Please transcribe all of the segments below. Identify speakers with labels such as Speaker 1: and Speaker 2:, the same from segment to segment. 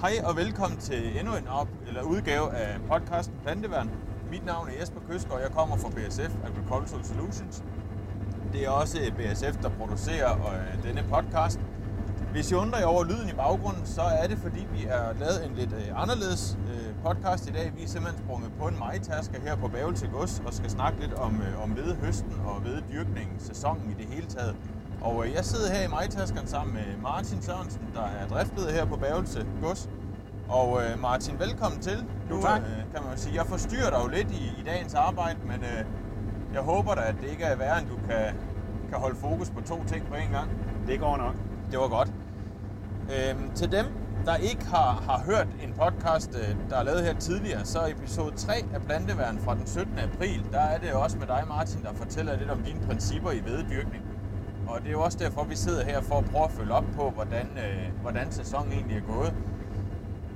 Speaker 1: Hej og velkommen til endnu en op, eller udgave af podcasten Planteværn. Mit navn er Jesper Køsgaard, jeg kommer fra BSF Agricultural Solutions. Det er også BSF, der producerer øh, denne podcast. Hvis I undrer jer over lyden i baggrunden, så er det fordi, vi har lavet en lidt øh, anderledes øh, podcast i dag. Vi er simpelthen sprunget på en majtasker her på Bageltil Gods og skal snakke lidt om, øh, om vedhøsten og veddyrkningen, sæsonen i det hele taget. Og øh, jeg sidder her i majtaskeren sammen med Martin Sørensen, der er driftleder her på Bageltil Gods. Og øh, Martin, velkommen til.
Speaker 2: Jo, tak.
Speaker 1: øh, kan man jo sige, jeg forstyrrer dig jo lidt i, i dagens arbejde, men øh, jeg håber da, at det ikke er værre, end du kan, kan holde fokus på to ting på én gang.
Speaker 2: Det går nok.
Speaker 1: Det var godt. Øhm, til dem, der ikke har, har hørt en podcast, øh, der er lavet her tidligere, så er episode 3 af Planteværen fra den 17. april, der er det også med dig, Martin, der fortæller lidt om dine principper i veddyrkning. Og det er jo også derfor, vi sidder her for at prøve at følge op på, hvordan, øh, hvordan sæsonen egentlig er gået.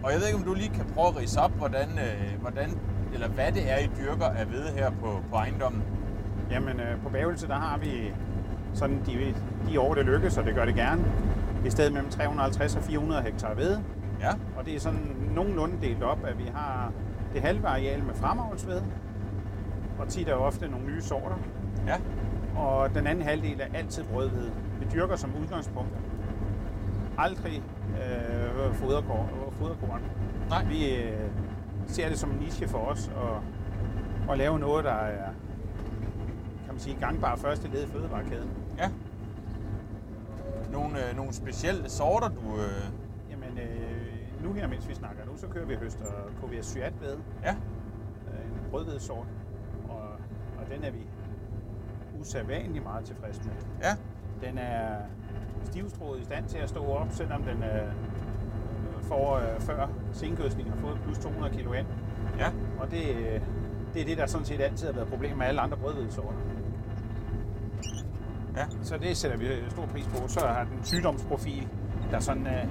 Speaker 1: Og jeg ved ikke, om du lige kan prøve at rise op, hvordan, øh, hvordan, eller hvad det er, I dyrker af ved her på, på ejendommen.
Speaker 2: Jamen, øh, på Bavelse, der har vi sådan de, de år, det lykkes, og det gør det gerne. I stedet mellem 350 og 400 hektar ved.
Speaker 1: Ja,
Speaker 2: Og det er sådan nogenlunde delt op, at vi har det halve areal med fremavlsved, og tit og ofte nogle nye sorter.
Speaker 1: ja,
Speaker 2: Og den anden halvdel er altid brødhved. Vi dyrker som udgangspunkt aldrig øh, foderkorn. foderkorn.
Speaker 1: Nej.
Speaker 2: Vi øh, ser det som en niche for os at, at lave noget, der er kan man sige, gangbar første led i fødevarekæden.
Speaker 1: ja. Nogle, øh, nogle specielle sorter, du... Øh,
Speaker 2: Jamen, øh, nu her, mens vi snakker nu, så kører vi høster KVS Syatbed,
Speaker 1: ja,
Speaker 2: øh, en rødhvedssort, og, og den er vi usædvanligt meget tilfredse med.
Speaker 1: ja.
Speaker 2: Den er stivstrået i stand til at stå op, selvom den øh, får øh, før senkødsning har fået plus 200 kilo ind.
Speaker 1: Ja,
Speaker 2: Og det, øh, det er det, der sådan set altid har været problemet med alle andre brødhvedsorter.
Speaker 1: ja,
Speaker 2: Så det sætter vi øh, stor pris på. Så har den sygdomsprofil, der er sådan, øh,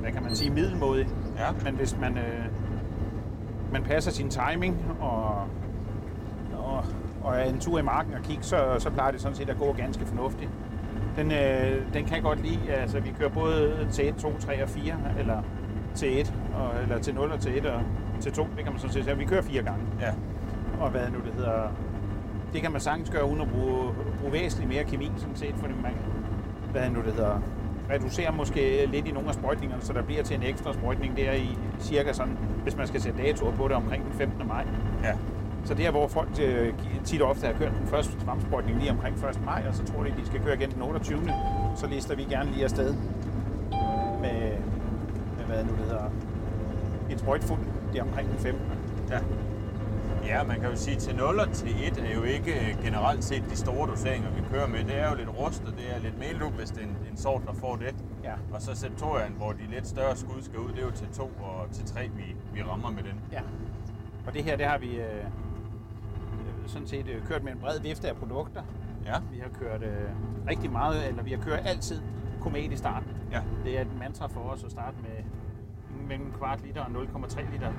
Speaker 2: hvad kan man sige, middelmodig.
Speaker 1: Ja.
Speaker 2: Men hvis man, øh, man passer sin timing og, og, og er en tur i marken og kigge, så, så plejer det sådan set at gå ganske fornuftigt. Den, øh, den kan jeg godt lide. Altså, vi kører både til 1, 2, 3 og 4, eller til 1, og, eller til 0 og til 1 og til 2, det kan man sådan set sige. Vi kører fire gange
Speaker 1: ja,
Speaker 2: og hvad nu det hedder. Det kan man sagtens gøre uden at bruge, bruge væsentligt mere kemi, sådan set, fordi man, hvad nu det hedder, reducerer måske lidt i nogle af sprøjtningerne, så der bliver til en ekstra sprøjtning der i cirka sådan, hvis man skal sætte datoer på det, omkring den 15. maj.
Speaker 1: ja,
Speaker 2: Så der, hvor folk øh, tit og ofte har kørt den første svampsprøjtning lige omkring 1. maj, og så tror de, de skal køre igen den 28. Så lister vi gerne lige afsted med, med hvad nu det hedder, et sprøjtfuld der omkring den 15.
Speaker 1: ja. Ja, man kan jo sige, at til 0 og til 1 er jo ikke øh, generelt set de store doseringer, vi kører med. Det er jo lidt rust, og det er lidt meldup, hvis det er en, en sort, der får det.
Speaker 2: Ja.
Speaker 1: Og så septorian, hvor de lidt større skud skal ud, det er jo til 2 og til 3, vi, vi rammer med den.
Speaker 2: Ja. Og det her, det har vi øh, øh, sådan set øh, kørt med en bred vifte af produkter.
Speaker 1: Ja,
Speaker 2: Vi har kørt øh, rigtig meget, eller vi har kørt altid komet i starten.
Speaker 1: ja,
Speaker 2: Det er et mantra for os at starte med mellem kvart liter og 0,3 liter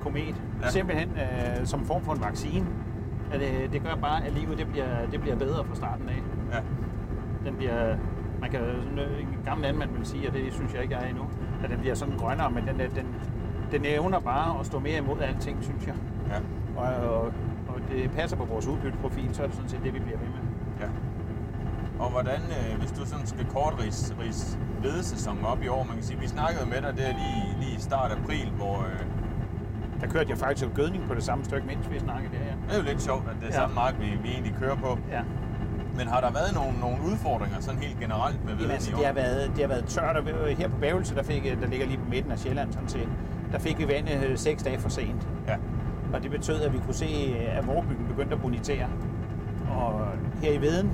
Speaker 2: komet.
Speaker 1: Ja.
Speaker 2: Ja. Simpelthen øh, som form for en vaccine. At, øh, det gør bare, at livet det bliver, det bliver bedre fra starten af.
Speaker 1: ja,
Speaker 2: Den bliver, man kan, sådan, øh, en gammel landmand vil sige, og det synes jeg ikke, jeg er endnu, at den bliver sådan grønnere, men den, er- den, den evner bare at stå mere imod alting, synes jeg.
Speaker 1: ja,
Speaker 2: Og, og, og det passer på vores udbytteprofil, så er det sådan set det, vi bliver ved med.
Speaker 1: ja. Og hvordan, øh, hvis du sådan skal kort ris, ris vedesæsonen op i år, man kan sige, vi snakkede med dig der lige, lige i start april, hvor øh,
Speaker 2: Der kørte jeg faktisk en gødning på det samme stykke, mens vi snakkede der, ja.
Speaker 1: det er jo lidt sjovt, at det er
Speaker 2: Ja.
Speaker 1: samme mark, vi, vi egentlig kører på.
Speaker 2: ja.
Speaker 1: Men har der været nogle, nogle udfordringer sådan helt generelt med veden
Speaker 2: Jamen,
Speaker 1: i
Speaker 2: altså,
Speaker 1: år?
Speaker 2: det, har været, det har været tørt, og øh, her på Bævelse, der, fik, øh, der ligger lige på midten af Sjælland sådan set, der fik vi vandet øh, seks dage for sent.
Speaker 1: Ja,
Speaker 2: Og det betød, at vi kunne se, at vorebyggen begyndte at bonitere. Og her i Veden,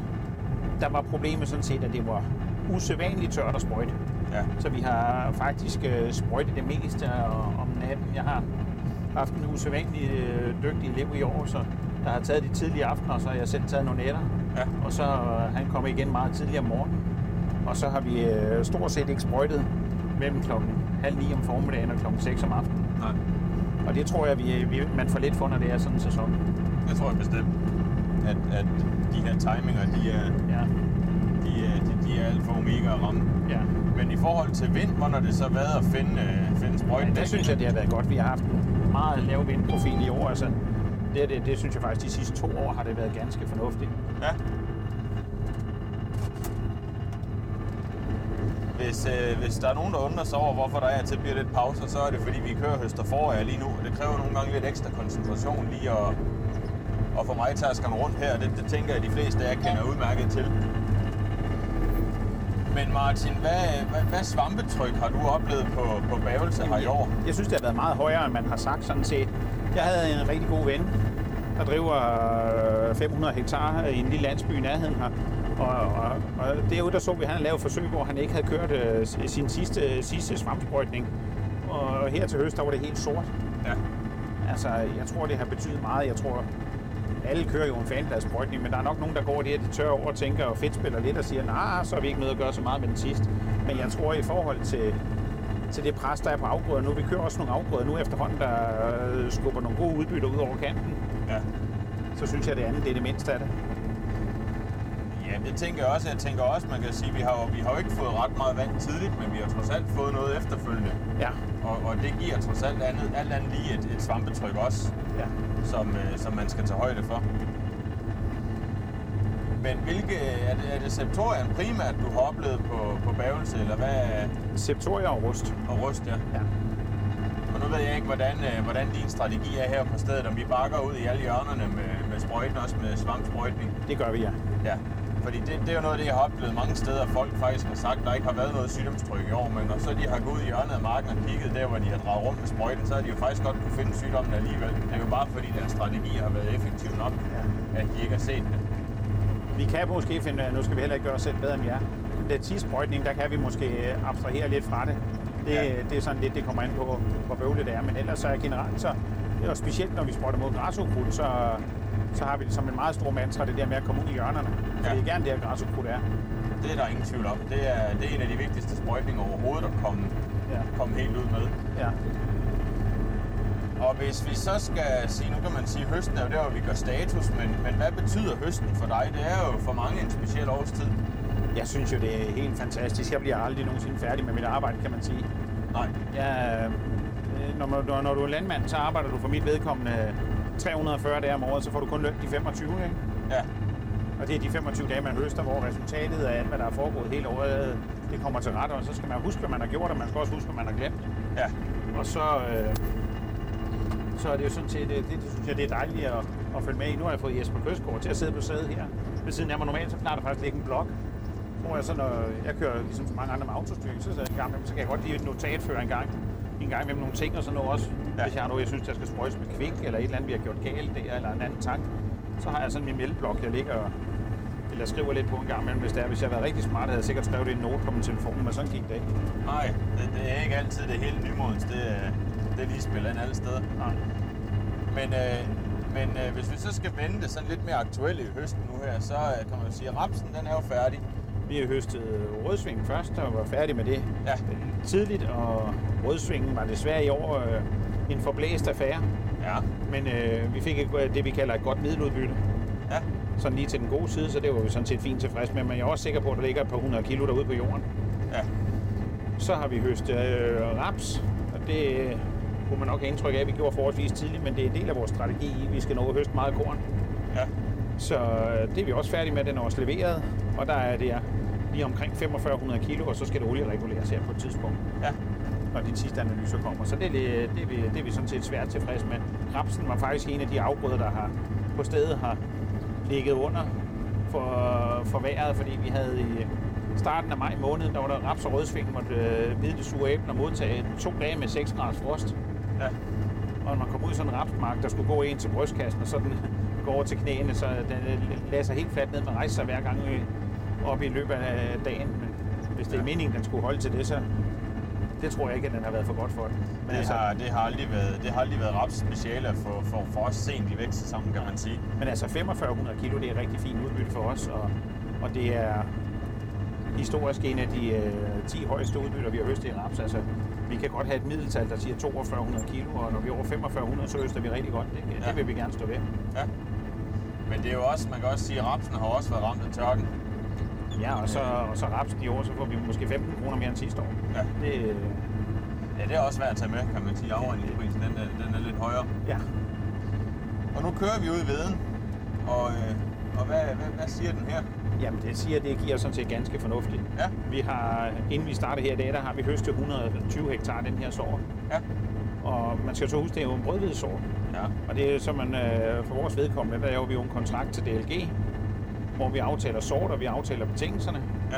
Speaker 2: der var problemet sådan set, at det var usædvanligt tørt at sprøjte.
Speaker 1: ja,
Speaker 2: Så vi har faktisk øh, sprøjtet det meste øh, om natten. Jeg har haft en usædvanlig øh, dygtig elev i år, så der har taget de tidlige aftener, og så har jeg selv taget nogle nætter.
Speaker 1: ja,
Speaker 2: Og så øh, han kommer igen meget tidligere om morgenen. Og så har vi øh, stort set ikke sprøjtet mellem klokken halv ni om formiddagen og klokken 6 om aftenen.
Speaker 1: nej.
Speaker 2: Og det tror jeg, vi, vi, man får lidt for, når det er sådan en sæson.
Speaker 1: Jeg tror bestemt, at, at de her timinger, de er,
Speaker 2: Ja,
Speaker 1: de er, de, de er alt for omega at ramme.
Speaker 2: ja.
Speaker 1: Men i forhold til vind, hvor når det så har været at finde, øh, finde sprøjten?
Speaker 2: Men der synes jeg, det har været godt. Vi har haft en meget lav vindprofil i år. Altså, det, det, det synes jeg faktisk, de sidste to år har det været ganske fornuftigt.
Speaker 1: Ja. Hvis, øh, hvis der er nogen, der undrer sig over, hvorfor der er til bliver lidt pauser, så er det fordi, vi kører høster forår lige nu, og det kræver nogle gange lidt ekstra koncentration lige at, og for mig taskerne rundt her, det, det tænker jeg, de fleste af jer kender udmærket til. Men Martin, hvad, hvad, hvad svampetryk har du oplevet på, på Bavelse her i år?
Speaker 2: Jeg synes, det har været meget højere, end man har sagt sådan set. Jeg havde en rigtig god ven, der driver øh, 500 hektar i en lille landsby i nærheden her. Og, og, og derude der så vi, at han lavede et forsøg, hvor han ikke havde kørt øh, s- sin sidste, sidste svampsprøjtning. Og her til høst, der var det helt sort.
Speaker 1: Ja.
Speaker 2: Altså, jeg tror, det har betydet meget. Jeg tror, alle kører jo en fanpladssprøjtning, men der er nok nogen, der går det her, de tør over og tænker og fedt spiller lidt og siger, nej, nah, så har vi ikke noget at gøre så meget med den sidste. Men jeg tror, i forhold til, til det pres, der er på afgrøder nu, vi kører også nogle afgrøder nu efterhånden, der øh, skubber nogle gode udbytter ud over kanten,
Speaker 1: ja.
Speaker 2: så synes jeg, det andet det er det mindste af det.
Speaker 1: Ja, det tænker jeg også. Jeg tænker også, man kan sige, at vi har, jo- vi har jo ikke fået ret meget vand tidligt, men vi har trods alt fået noget efterfølgende.
Speaker 2: Ja,
Speaker 1: Og, og det giver trods alt andet, alt andet lige et, et svampetryk også,
Speaker 2: ja.
Speaker 1: som, øh, som man skal tage højde for. Men hvilke, er det, er det septorien primært, du har oplevet på, på Bavelse, eller hvad
Speaker 2: Septoria og rust.
Speaker 1: og ryst, ja?
Speaker 2: Ja.
Speaker 1: Og nu ved jeg ikke, hvordan, øh, hvordan din strategi er her på stedet, om vi bakker ud i alle hjørnerne med, med sprøjten, også med svampsprøjtning.
Speaker 2: Det gør vi, ja.
Speaker 1: Ja, fordi det, det er jo noget af det, jeg har oplevet mange steder, at folk faktisk har sagt, at der ikke har været noget sygdomstryk i år, men når så de har gået ud i hjørnet af marken og kigget der, hvor de har draget rundt med sprøjten, så har de jo faktisk godt kunne finde sygdommen alligevel. Det er jo bare fordi deres strategier har været effektive nok,
Speaker 2: Ja.
Speaker 1: at de ikke har set det.
Speaker 2: Vi kan måske finde, ud af- nu skal vi heller ikke gøre os selv bedre end jer. Den tidssprøjtning, der kan vi måske øh, abstrahere lidt fra det. Det,
Speaker 1: Ja.
Speaker 2: ja. det er sådan lidt, det kommer an på, hvor bøvlet det er. Men ellers så er generelt så, og specielt når vi sprøjter mod græsukrudt, så, så har vi det som en meget stor mantra, det der med at komme ud i hjørnerne. Ja.
Speaker 1: Ja.
Speaker 2: Det er gerne der, græsukrudt er.
Speaker 1: Det er der ingen tvivl om. Det er, det er en af de vigtigste sprøjtninger overhovedet at komme,
Speaker 2: Ja.
Speaker 1: komme helt ud med.
Speaker 2: Ja.
Speaker 1: Og hvis vi så skal sige, nu kan man sige, at høsten er jo der, hvor vi gør status, men, men hvad betyder høsten for dig? Det er jo for mange en speciel årstid.
Speaker 2: Jeg synes jo, det er helt fantastisk. Jeg bliver aldrig nogensinde færdig med mit arbejde, kan man sige.
Speaker 1: Nej,
Speaker 2: Jeg, øh, når, man- når, når du er landmand, så arbejder du for mit vedkommende 340 dage om året, så får du kun løn de 25, ikke?
Speaker 1: ja,
Speaker 2: Og det er de 25 dage, man høster, hvor resultatet af alt, hvad der er foregået hele året, det kommer til ret, og så skal man huske, hvad man har gjort, og man skal også huske, hvad man har glemt.
Speaker 1: ja.
Speaker 2: Og så, øh, så er det jo sådan set, øh, det, det, det synes jeg, det er dejligt at, at følge med i. Nu har jeg fået Jesper Køsgaard til at sidde på sædet her. Ved siden af mig normalt, så plejer der faktisk ligge en blok, hvor jeg så, når jeg kører ligesom så mange andre med autostyring, så, så, gang, så kan jeg godt lige et notat før en gang. En gang med nogle ting og sådan noget også.
Speaker 1: Ja.
Speaker 2: Ja. Hvis jeg har noget, jeg synes, der skal sprøjtes med kvik, eller et eller andet, vi har gjort galt der, eller en anden tank, så har jeg sådan min mælkeblok, jeg ligger og- eller skriver lidt på en gang imellem, hvis det er. Hvis jeg havde været rigtig smart, havde jeg sikkert skrevet det i en note på min telefon, men sådan gik det ikke.
Speaker 1: Nej, det, det er ikke altid det hele nymodens. Det, er- det er lige spiller ind alle steder.
Speaker 2: Nej.
Speaker 1: Men, øh, men øh, hvis vi så skal vende det sådan lidt mere aktuelle i høsten nu her, så øh, kan man jo sige, at rapsen den er jo færdig.
Speaker 2: Vi har høstet rødsving først og var færdige med det
Speaker 1: Ja.
Speaker 2: tidligt, og rødsvingen var desværre i år øh, en forblæst affære,
Speaker 1: Ja.
Speaker 2: men øh, vi fik et, øh, det, vi kalder et godt middeludbytte,
Speaker 1: Ja.
Speaker 2: sådan lige til den gode side, så det var vi sådan set fint tilfreds med, men jeg er også sikker på, at der ligger et par hundrede kilo derude på jorden.
Speaker 1: Ja.
Speaker 2: Så har vi høstet øh, raps, og det øh, kunne man nok have indtryk af, at vi gjorde forholdsvis tidligt, men det er en del af vores strategi, i, at vi skal nå at høste meget korn.
Speaker 1: Ja.
Speaker 2: Så øh, det er vi også færdige med, den er også leveret, og der er det ja, lige omkring 4500 kilo, og så skal det oliereguleres her på et tidspunkt,
Speaker 1: Ja.
Speaker 2: når de sidste analyser kommer. Så det er, lidt- det er, vi, det er vi sådan set svært tilfredse med. Rapsen var faktisk en af de afgrøder, der har på stedet har ligget under for, for vejret, fordi vi havde i starten af maj måned, der var der raps og rødsving, måtte øh, bide det sure æble og modtage to dage med 6 graders frost.
Speaker 1: Ja.
Speaker 2: Og når man kommer ud i sådan en rapsmark, der skulle gå en til brystkassen, og så den går over til knæene, så den øh, lader sig helt fladt ned med rejser hver gang øh, op i løbet af dagen. Men hvis det er
Speaker 1: Ja.
Speaker 2: meningen, den skulle holde til det, så det tror jeg ikke, at den har været for godt for den. Men,
Speaker 1: Det
Speaker 2: altså,
Speaker 1: har, det har aldrig været, det har aldrig været raps speciale for, for, for os sent i vækstsæsonen, kan man sige.
Speaker 2: men altså 4500 kilo, det er rigtig fint udbytte for os, og, og det er historisk en af de øh, 10 højeste udbytter, vi har høstet i raps. Altså, vi kan godt have et middeltal, der siger 4200 kilo, og når vi er over 4500, så høster vi rigtig godt. Det, ja.
Speaker 1: Ja.
Speaker 2: det vil vi gerne stå ved.
Speaker 1: Ja. Men det er jo også, man kan også sige, at rapsen har også været ramt af tørken.
Speaker 2: Ja, og så, og så raps i år, så får vi måske 15 kroner mere end sidste år.
Speaker 1: Ja.
Speaker 2: Det,
Speaker 1: Ja, det er også værd at tage med, kan man sige. Afregningsprisen, den er, den er lidt højere.
Speaker 2: ja.
Speaker 1: Og nu kører vi ud i veden, og, øh, og hvad, hvad, hvad siger den her?
Speaker 2: Jamen, det siger, det giver sådan set ganske fornuftigt.
Speaker 1: Ja,
Speaker 2: Vi har, inden vi starter her i dag, der har vi høstet 120 hektar den her sår.
Speaker 1: ja,
Speaker 2: Og man skal så huske, det er jo en brødhvidsår.
Speaker 1: ja,
Speaker 2: Og det er så man, øh, for vores vedkommende, der laver vi jo en kontrakt til DLG, hvor vi aftaler sort, og vi aftaler betingelserne.
Speaker 1: ja,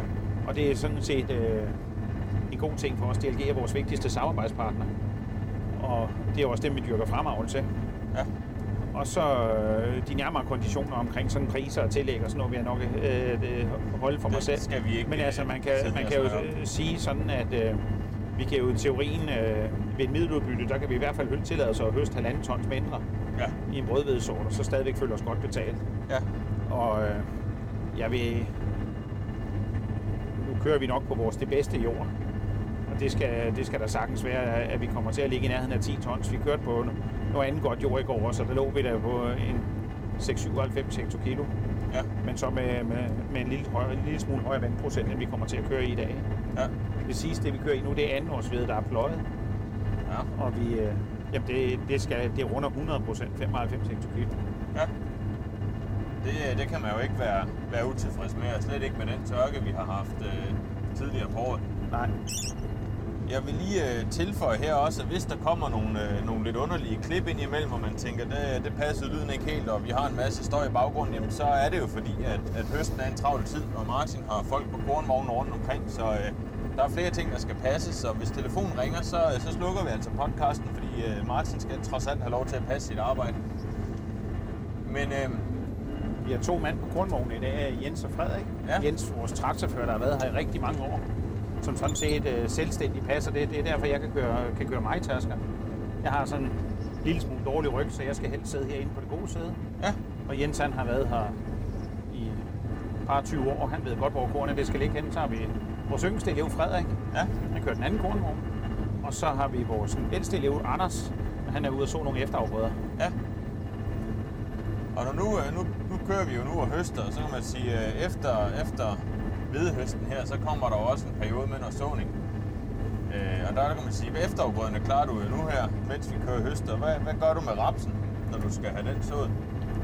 Speaker 2: Og det er sådan set øh, en god ting for os. DLG er vores vigtigste samarbejdspartner. Og det er også dem, vi dyrker fremavl til.
Speaker 1: ja,
Speaker 2: Og så øh, de nærmere konditioner omkring sådan priser og tillæg og sådan noget, vil jeg nok øh, det holde for
Speaker 1: Det
Speaker 2: mig selv.
Speaker 1: skal vi ikke,
Speaker 2: Men altså, man kan,
Speaker 1: øh, sætte
Speaker 2: man
Speaker 1: os
Speaker 2: kan jo
Speaker 1: meget op.
Speaker 2: øh, sige sådan, at øh, vi kan jo i teorien øh, ved et middeludbytte, der kan vi i hvert fald hø- tillade os at høste halvanden tons mindre
Speaker 1: ja,
Speaker 2: i en brødhvedesort, og så stadigvæk føle os godt betalt.
Speaker 1: ja,
Speaker 2: Og øh, jeg vil... Nu kører vi nok på vores det bedste jord. Og det skal, det skal da sagtens være, at vi kommer til at ligge i nærheden af 10 tons. Vi kørte på noget andet godt jord i går, så der lå vi der på en 697 hektokilo.
Speaker 1: ja,
Speaker 2: Men så med, med, med en, lille, højere, en lille smule højere vandprocent, end vi kommer til at køre i i dag.
Speaker 1: ja,
Speaker 2: Det sidste, det vi kører i nu, det er anden års hvede, der er pløjet.
Speaker 1: ja,
Speaker 2: Og vi, øh, jamen det, det, skal, det runder 100 procent, 95 hektokilo.
Speaker 1: ja. Det, øh, det kan man jo ikke være, være utilfreds med, og slet ikke med den tørke, vi har haft øh, tidligere på året.
Speaker 2: Nej,
Speaker 1: Jeg vil lige øh, tilføje her også, at hvis der kommer nogle, øh, nogle lidt underlige klip ind imellem, og man tænker, det, det passede lyden ikke helt, og vi har en masse støj i baggrunden, jamen så er det jo fordi, at, at høsten er en travl tid, og Martin har folk på kornvognen rundt omkring, så øh, der er flere ting, der skal passes, så hvis telefonen ringer, så, så slukker vi altså podcasten, fordi øh, Martin skal trods alt have lov til at passe sit arbejde. Men øh,
Speaker 2: Vi har to mand på grundvognen i dag, Jens og Frederik.
Speaker 1: Ja.
Speaker 2: Jens, vores traktorfører, der har været her i rigtig mange år, som sådan set øh, selvstændig passer det. Det er derfor, jeg kan køre, kan køre mig tasker. Jeg har sådan en lille smule dårlig ryg, så jeg skal helst sidde herinde på det gode sæde.
Speaker 1: ja,
Speaker 2: Og Jens han har været her i et par 20 år, han ved godt, hvor kornet det skal ligge hen. Så har vi vores yngste elev, Frederik.
Speaker 1: ja,
Speaker 2: Han kører den anden kornvogn. Og så har vi vores ældste elev, Anders. Han er ude og så nogle efterafgrøder.
Speaker 1: Ja. Og når nu, øh, nu, nu kører vi jo nu og høster, så kan man sige, øh, efter, efter hvedehøsten her, så kommer der jo også en periode med noget såning. Øh, og der kan man sige, at efterafgrøderne klarer du jo nu her, mens vi kører høster. Hvad, hvad gør du med rapsen, når du skal have den sået?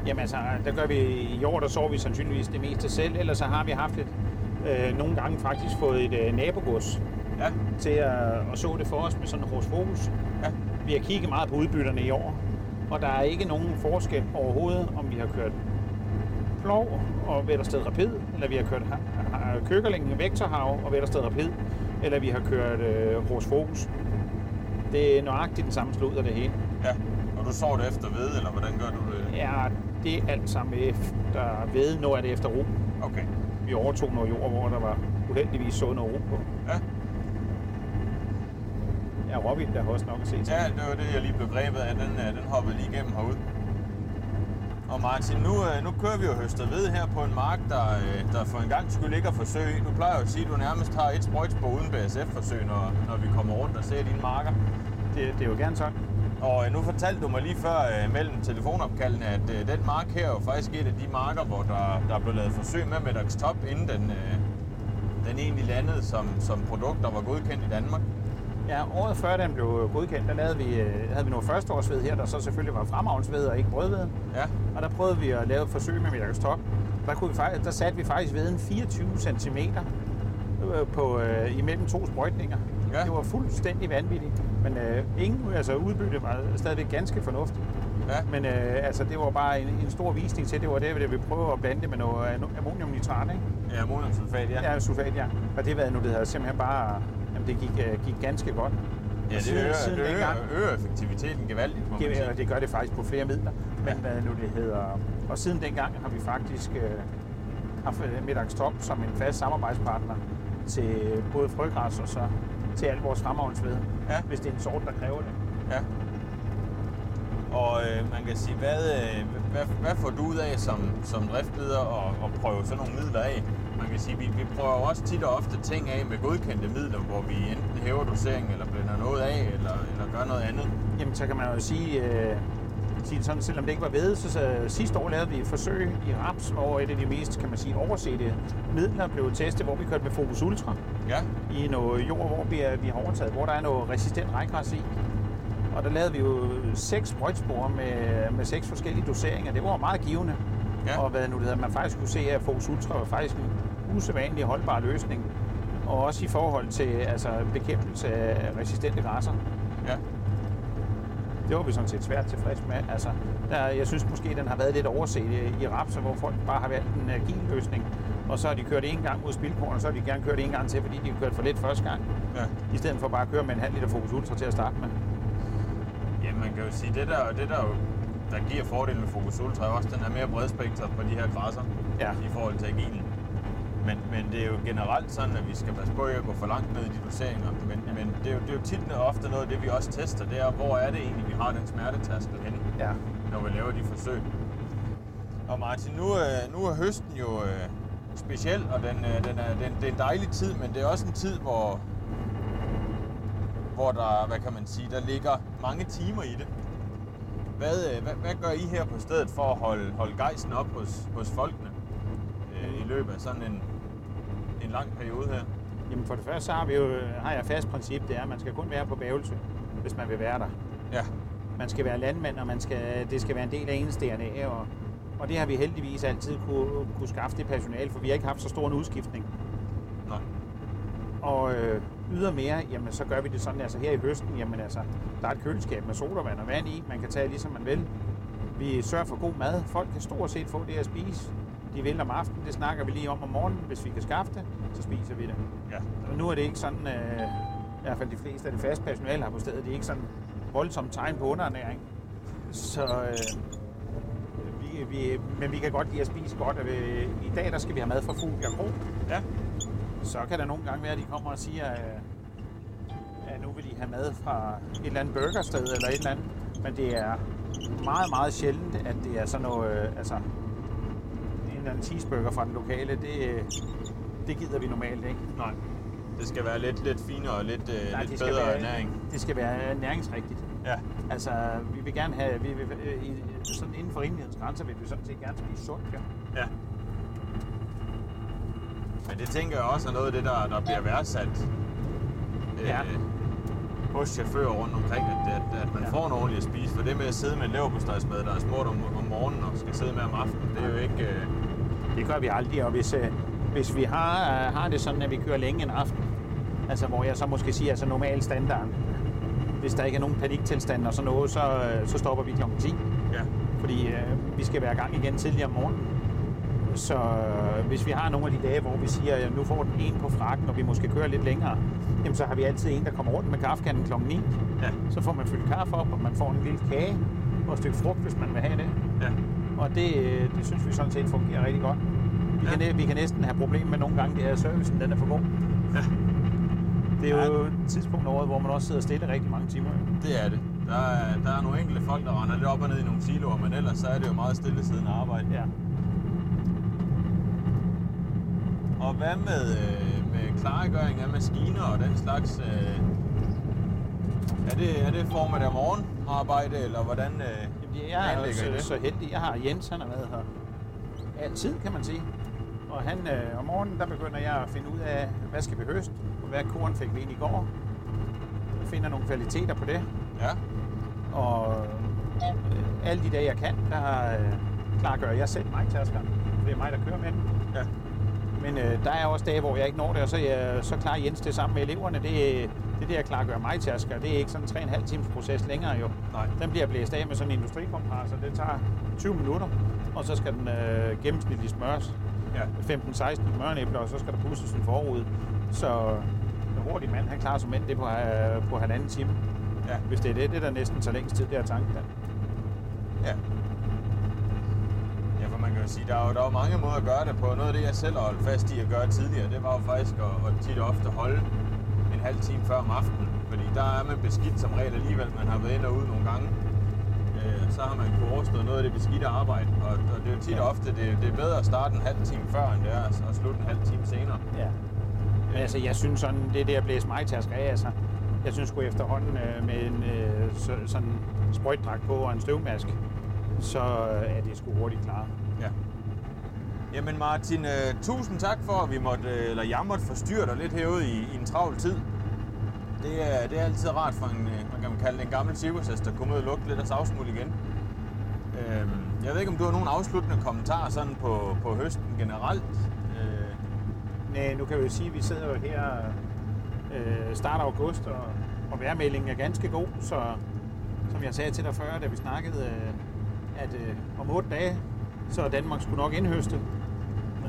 Speaker 2: Jamen altså, der gør vi i år, der sover vi sandsynligvis det meste selv, ellers så har vi haft et, øh, nogle gange faktisk fået et øh, nabogods
Speaker 1: Ja,
Speaker 2: til at, at så det for os med sådan en hos fokus.
Speaker 1: ja,
Speaker 2: Vi har kigget meget på udbytterne i år, og der er ikke nogen forskel overhovedet, om vi har kørt plov og Vettersted Rapid, eller vi har kørt ha- ha- Køkkerling, Vektorhav og Vettersted Rapid, eller vi har kørt øh, hos fokus. Det er nøjagtigt den samme slud af det hele.
Speaker 1: ja. Og du sår det efter hvede, eller hvordan gør du det?
Speaker 2: Ja, det er alt sammen efter ved, nu er det efter ro.
Speaker 1: Okay,
Speaker 2: Vi overtog noget jord, hvor der var uheldigvis så noget ro på.
Speaker 1: ja.
Speaker 2: Ja, Robin, der har også nok at se til.
Speaker 1: Ja, det var det, jeg lige blev grebet af. Den, øh, den hoppede lige igennem herude. Og Martin, nu, øh, nu kører vi jo høstet ved her på en mark, der, øh, der for en gang skulle ikke at forsøge. Nu plejer jeg jo at sige, at du nærmest har et sprøjtspor uden BSF-forsøg, når, når vi kommer rundt og ser dine marker.
Speaker 2: Det, det er jo gerne sådan.
Speaker 1: Og øh, nu fortalte du mig lige før øh, mellem telefonopkaldene, at øh, den mark her er jo faktisk et af de marker, hvor der, der blev lavet forsøg med Medox Top, inden den, øh, den egentlig landede som, som produkt, der var godkendt i Danmark.
Speaker 2: Ja, året før den blev godkendt, der lavede vi, øh, havde vi noget førsteårsved her, der så selvfølgelig var fremavnsved og ikke brødved.
Speaker 1: Ja,
Speaker 2: Og der prøvede vi at lave et forsøg med Medikus Top. Der, kunne vi, fak- der satte vi faktisk veden 24 cm øh, på, øh, imellem to sprøjtninger.
Speaker 1: Ja.
Speaker 2: Det var fuldstændig vanvittigt, men øh, ingen, altså udbytte var stadigvæk ganske fornuftigt.
Speaker 1: ja,
Speaker 2: Men øh, altså, det var bare en, en stor visning til, det var det, vi prøvede at blande det med noget ammo- ammoniumnitrat, ikke?
Speaker 1: ja ammoniumsulfat, ja.
Speaker 2: Ja, sulfat, ja. Og det var nu, det hedder simpelthen bare, jamen, det gik, øh, gik ganske godt.
Speaker 1: Ja,
Speaker 2: Og
Speaker 1: det
Speaker 2: siden-
Speaker 1: øger,
Speaker 2: siden
Speaker 1: det øger,
Speaker 2: dengang-
Speaker 1: øger effektiviteten gevaldigt, må man
Speaker 2: Det,
Speaker 1: sige.
Speaker 2: og det gør det faktisk på flere midler,
Speaker 1: Ja.
Speaker 2: men hvad nu det hedder. Og siden dengang har vi faktisk øh, haft øh, Middags Top som en fast samarbejdspartner til både frøgræs og så til alt vores fremavnsved,
Speaker 1: Ja.
Speaker 2: hvis det er en sort, der kræver det.
Speaker 1: Ja. Og øh, man kan sige, hvad, øh, hvad, hvad får du ud af som, som driftleder at, at prøve sådan nogle midler af? Man kan sige, vi, vi prøver jo også tit og ofte ting af med godkendte midler, hvor vi enten hæver doseringen, eller blænder noget af, eller, eller gør noget andet.
Speaker 2: Jamen, så kan man jo sige, øh, sige sådan, selvom det ikke var ved, så, så sidste år lavede vi et forsøg i Raps, hvor et af de mest, kan man sige, oversete midler blev testet, hvor vi kørte med Focus Ultra
Speaker 1: Ja,
Speaker 2: i noget jord, hvor vi, er, vi har overtaget, hvor der er noget resistent rejgræs i. Og der lavede vi jo seks sprøjtspor med, med seks forskellige doseringer. Det var meget givende.
Speaker 1: Ja.
Speaker 2: Og hvad nu det hedder, man faktisk kunne se, at Fox Ultra var faktisk en usædvanlig holdbar løsning. Og også i forhold til altså, bekæmpelse af resistente græsser.
Speaker 1: ja.
Speaker 2: Det var vi sådan set svært tilfreds med. Altså, der, jeg synes måske, den har været lidt overset i- i rapser, hvor folk bare har valgt en agil løsning. Og så har de kørt en gang mod spildkorn, og så har de gerne kørt en gang til, fordi de har kørt for lidt første gang
Speaker 1: ja.
Speaker 2: i stedet for bare at køre med en halv liter Focus Ultra til at starte med.
Speaker 1: Ja, man kan jo sige, det der, det der, jo, der giver fordelen ved Focus Ultra, er også den er mere bredspektret på de her græsser
Speaker 2: Ja.
Speaker 1: i forhold til agilen. Men, men det er jo generelt sådan, at vi skal passe på ikke at gå for langt ned i de doseringer. Men, ja. men det, er jo, det er jo tit og ofte noget af det, vi også tester, det er, hvor er det egentlig, vi har den smertetaskel henne,
Speaker 2: Ja.
Speaker 1: når vi laver de forsøg. Og Martin, nu, øh, nu er høsten jo øh, speciel, og den, øh, den, er, den, det er en dejlig tid, men det er også en tid, hvor, hvor der, hvad kan man sige, der ligger mange timer i det. Hvad, øh, hvad, hvad gør I her på stedet for at holde, holde gejsten op hos, hos folkene øh, i løbet af sådan en, en lang periode her?
Speaker 2: Jamen for det første så har, vi jo, øh, har jeg et fast princip, det er, at man skal kun være på bævelse, hvis man vil være der.
Speaker 1: Ja,
Speaker 2: Man skal være landmand, og man skal, det skal være en del af ens DNA, og, og det har vi heldigvis altid kunne, kunne skaffe det personale, for vi har ikke haft så stor en udskiftning.
Speaker 1: nej.
Speaker 2: Og øh, ydermere, jamen, så gør vi det sådan, altså her i høsten, jamen altså, der er et køleskab med sodavand og vand i, man kan tage ligesom man vil. Vi sørger for god mad, folk kan stort set få det at spise. De vil om aftenen, det snakker vi lige om om morgenen, hvis vi kan skaffe det, så spiser vi det.
Speaker 1: Ja,
Speaker 2: Og nu er det ikke sådan, øh, i hvert fald de fleste af det faste personale her på stedet, det er ikke sådan voldsomt tegn på underernæring. Så øh, vi, vi, men vi kan godt lide at spise godt, og øh, i dag der skal vi have mad fra Fugl og Kro
Speaker 1: ja,
Speaker 2: så kan der nogle gange være, at de kommer og siger, øh, at nu vil de have mad fra et eller andet burgersted eller et eller andet. Men det er meget, meget sjældent, at det er sådan noget, øh, altså en eller anden cheeseburger fra den lokale, det, øh, det gider vi normalt ikke.
Speaker 1: nej. Det skal være lidt, lidt finere og lidt, øh, lidt bedre ernæring.
Speaker 2: det skal være næringsrigtigt.
Speaker 1: Ja,
Speaker 2: Altså, vi vil gerne have, vi vil, øh, i- sådan inden for rimelighedens grænser, vil vi sådan set gerne spise sundt. Ja.
Speaker 1: Ja. Men det tænker jeg også er noget af det, der, der bliver værdsat øh,
Speaker 2: Ja.
Speaker 1: hos chauffører rundt omkring, at, at, at man
Speaker 2: Ja.
Speaker 1: ja. får en ordentlig at spise. For det med at sidde med en leverpostejsmad, der er smurt om, om morgenen og skal sidde med om aftenen, det er jo ikke... Øh,
Speaker 2: Det gør vi aldrig, og hvis, øh, hvis vi har, øh, har det sådan, at vi kører længe en aften, altså hvor jeg så måske siger, altså normal standarden, hvis der ikke er nogen paniktilstand og sådan noget, så, øh, så stopper vi kl. 10,
Speaker 1: ja.
Speaker 2: fordi øh, vi skal være i gang igen tidligere om morgenen. Så øh, hvis vi har nogle af de dage, hvor vi siger, at nu får den en på frakken, og vi måske kører lidt længere, jamen så har vi altid en, der kommer rundt med kaffekanden kl. 9.
Speaker 1: Ja.
Speaker 2: Så får man fyldt kaffe op, og man får en lille kage og et stykke frugt, hvis man vil have det.
Speaker 1: ja.
Speaker 2: Og det, øh, det synes vi sådan set fungerer rigtig godt. Vi, ja.
Speaker 1: Ja.
Speaker 2: kan, næ- vi kan næsten have problemer med nogle gange, det er, at servicen den er for god.
Speaker 1: Ja.
Speaker 2: Det er
Speaker 1: Ja.
Speaker 2: jo et tidspunkt over, hvor man også sidder stille rigtig mange timer. jo.
Speaker 1: Det er det. Der er, der er nogle enkelte folk, der render lidt op og ned i nogle siloer, men ellers så er det jo meget stille siden arbejde.
Speaker 2: Ja.
Speaker 1: Og hvad med, øh, med klargøring af maskiner og den slags? Øh, er, det, er det form af det morgen arbejde, eller hvordan øh,
Speaker 2: Jamen, jeg er jo
Speaker 1: planlægger I
Speaker 2: så,
Speaker 1: det?
Speaker 2: så heldig. Jeg har Jens, han har været her altid, kan man sige. Og han, øh, om morgenen, der begynder jeg at finde ud af, hvad skal vi høste, og hvad korn fik vi ind i går. Jeg finder nogle kvaliteter på det.
Speaker 1: Ja,
Speaker 2: Og øh, alle de dage, jeg kan, der øh, klargør jeg selv mig taskerne. Det er mig, der kører med dem.
Speaker 1: ja,
Speaker 2: Men øh, der er også dage, hvor jeg ikke når det, og så, øh, så klarer Jens det sammen med eleverne. Det, øh, det der klargør mig tasker, det er ikke sådan en 3,5 times proces længere jo.
Speaker 1: nej,
Speaker 2: Den bliver blæst af med sådan en industrikompressor. Det tager 20 minutter, og så skal den øh, gennemsnitligt smøres.
Speaker 1: ja,
Speaker 2: 15-16 mørnæbler, og så skal der pusses en forud. Så en hurtig mand, han klarer som mænd det på, øh, på halvanden time.
Speaker 1: ja,
Speaker 2: Hvis det er det, det er der næsten så længst tid, det er tanken. der.
Speaker 1: ja. Ja, for man kan jo sige, der er jo, der er jo mange måder at gøre det på. Noget af det, jeg selv har holdt fast i at gøre tidligere, det var jo faktisk at, at tit og ofte holde en halv time før om aftenen. Fordi der er man beskidt som regel alligevel. Man har været ind og ud nogle gange. Øh, så har man kunne overstået noget af det beskidte arbejde. Og, og det er jo tit og ofte, det, det er bedre at starte en halv time før, end det er at- at slutte en halv time senere.
Speaker 2: Ja. Men altså, jeg synes sådan, det der blæs mig tasker af, altså, jeg synes sgu efterhånden øh, med en øh, så, sådan sprøjtdragt på og en støvmask, så øh, er det sgu hurtigt klar.
Speaker 1: Ja. Jamen Martin, øh, tusind tak for, at vi måtte, øh, eller jeg måtte forstyrre dig lidt herude i, i en travl tid. Det er, det er altid rart for en, øh, man kan man kalde det en gammel cirkushest, at komme ud og lugte lidt af savsmuld igen. Øhm, jeg ved ikke, om du har nogen afsluttende kommentarer sådan på, på høsten generelt. Øh,
Speaker 2: Næh, nu kan vi jo sige, at vi sidder jo her øh, start af august, og, og vejrmeldingen er ganske god, så som jeg sagde til dig før, da vi snakkede, øh, at øh, om otte dage, så er Danmark skulle nok Øh, indhøste.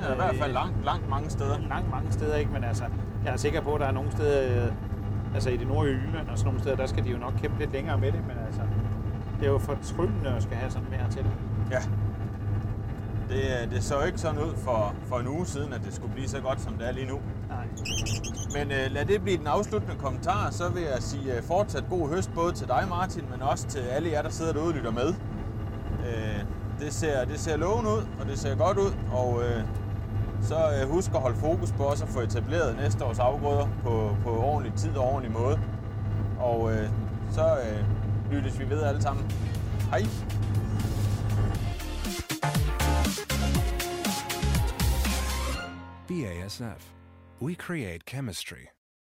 Speaker 1: ja, I hvert fald langt, langt mange steder.
Speaker 2: Langt mange steder, ikke? Men altså, jeg er sikker på, at der er nogle steder, øh, altså i det nordlige Jylland og sådan nogle steder, der skal de jo nok kæmpe lidt længere med det, men altså, det er jo fortryllende at skal have sådan mere til.
Speaker 1: Ja. Det, øh, det så ikke sådan ud for, for en uge siden, at det skulle blive så godt, som det er lige nu.
Speaker 2: Nej.
Speaker 1: Men øh, lad det blive den afsluttende kommentar, så vil jeg sige øh, fortsat god høst både til dig Martin, men også til alle jer, der sidder derude og lytter med. Øh, det, ser, det ser lovende ud, og det ser godt ud, og øh, så øh, husk at holde fokus på også at få etableret næste års afgrøder på, på ordentlig tid og ordentlig måde. Og øh, så øh, lyttes vi ved alle sammen. Hej!
Speaker 3: BASF. We create chemistry.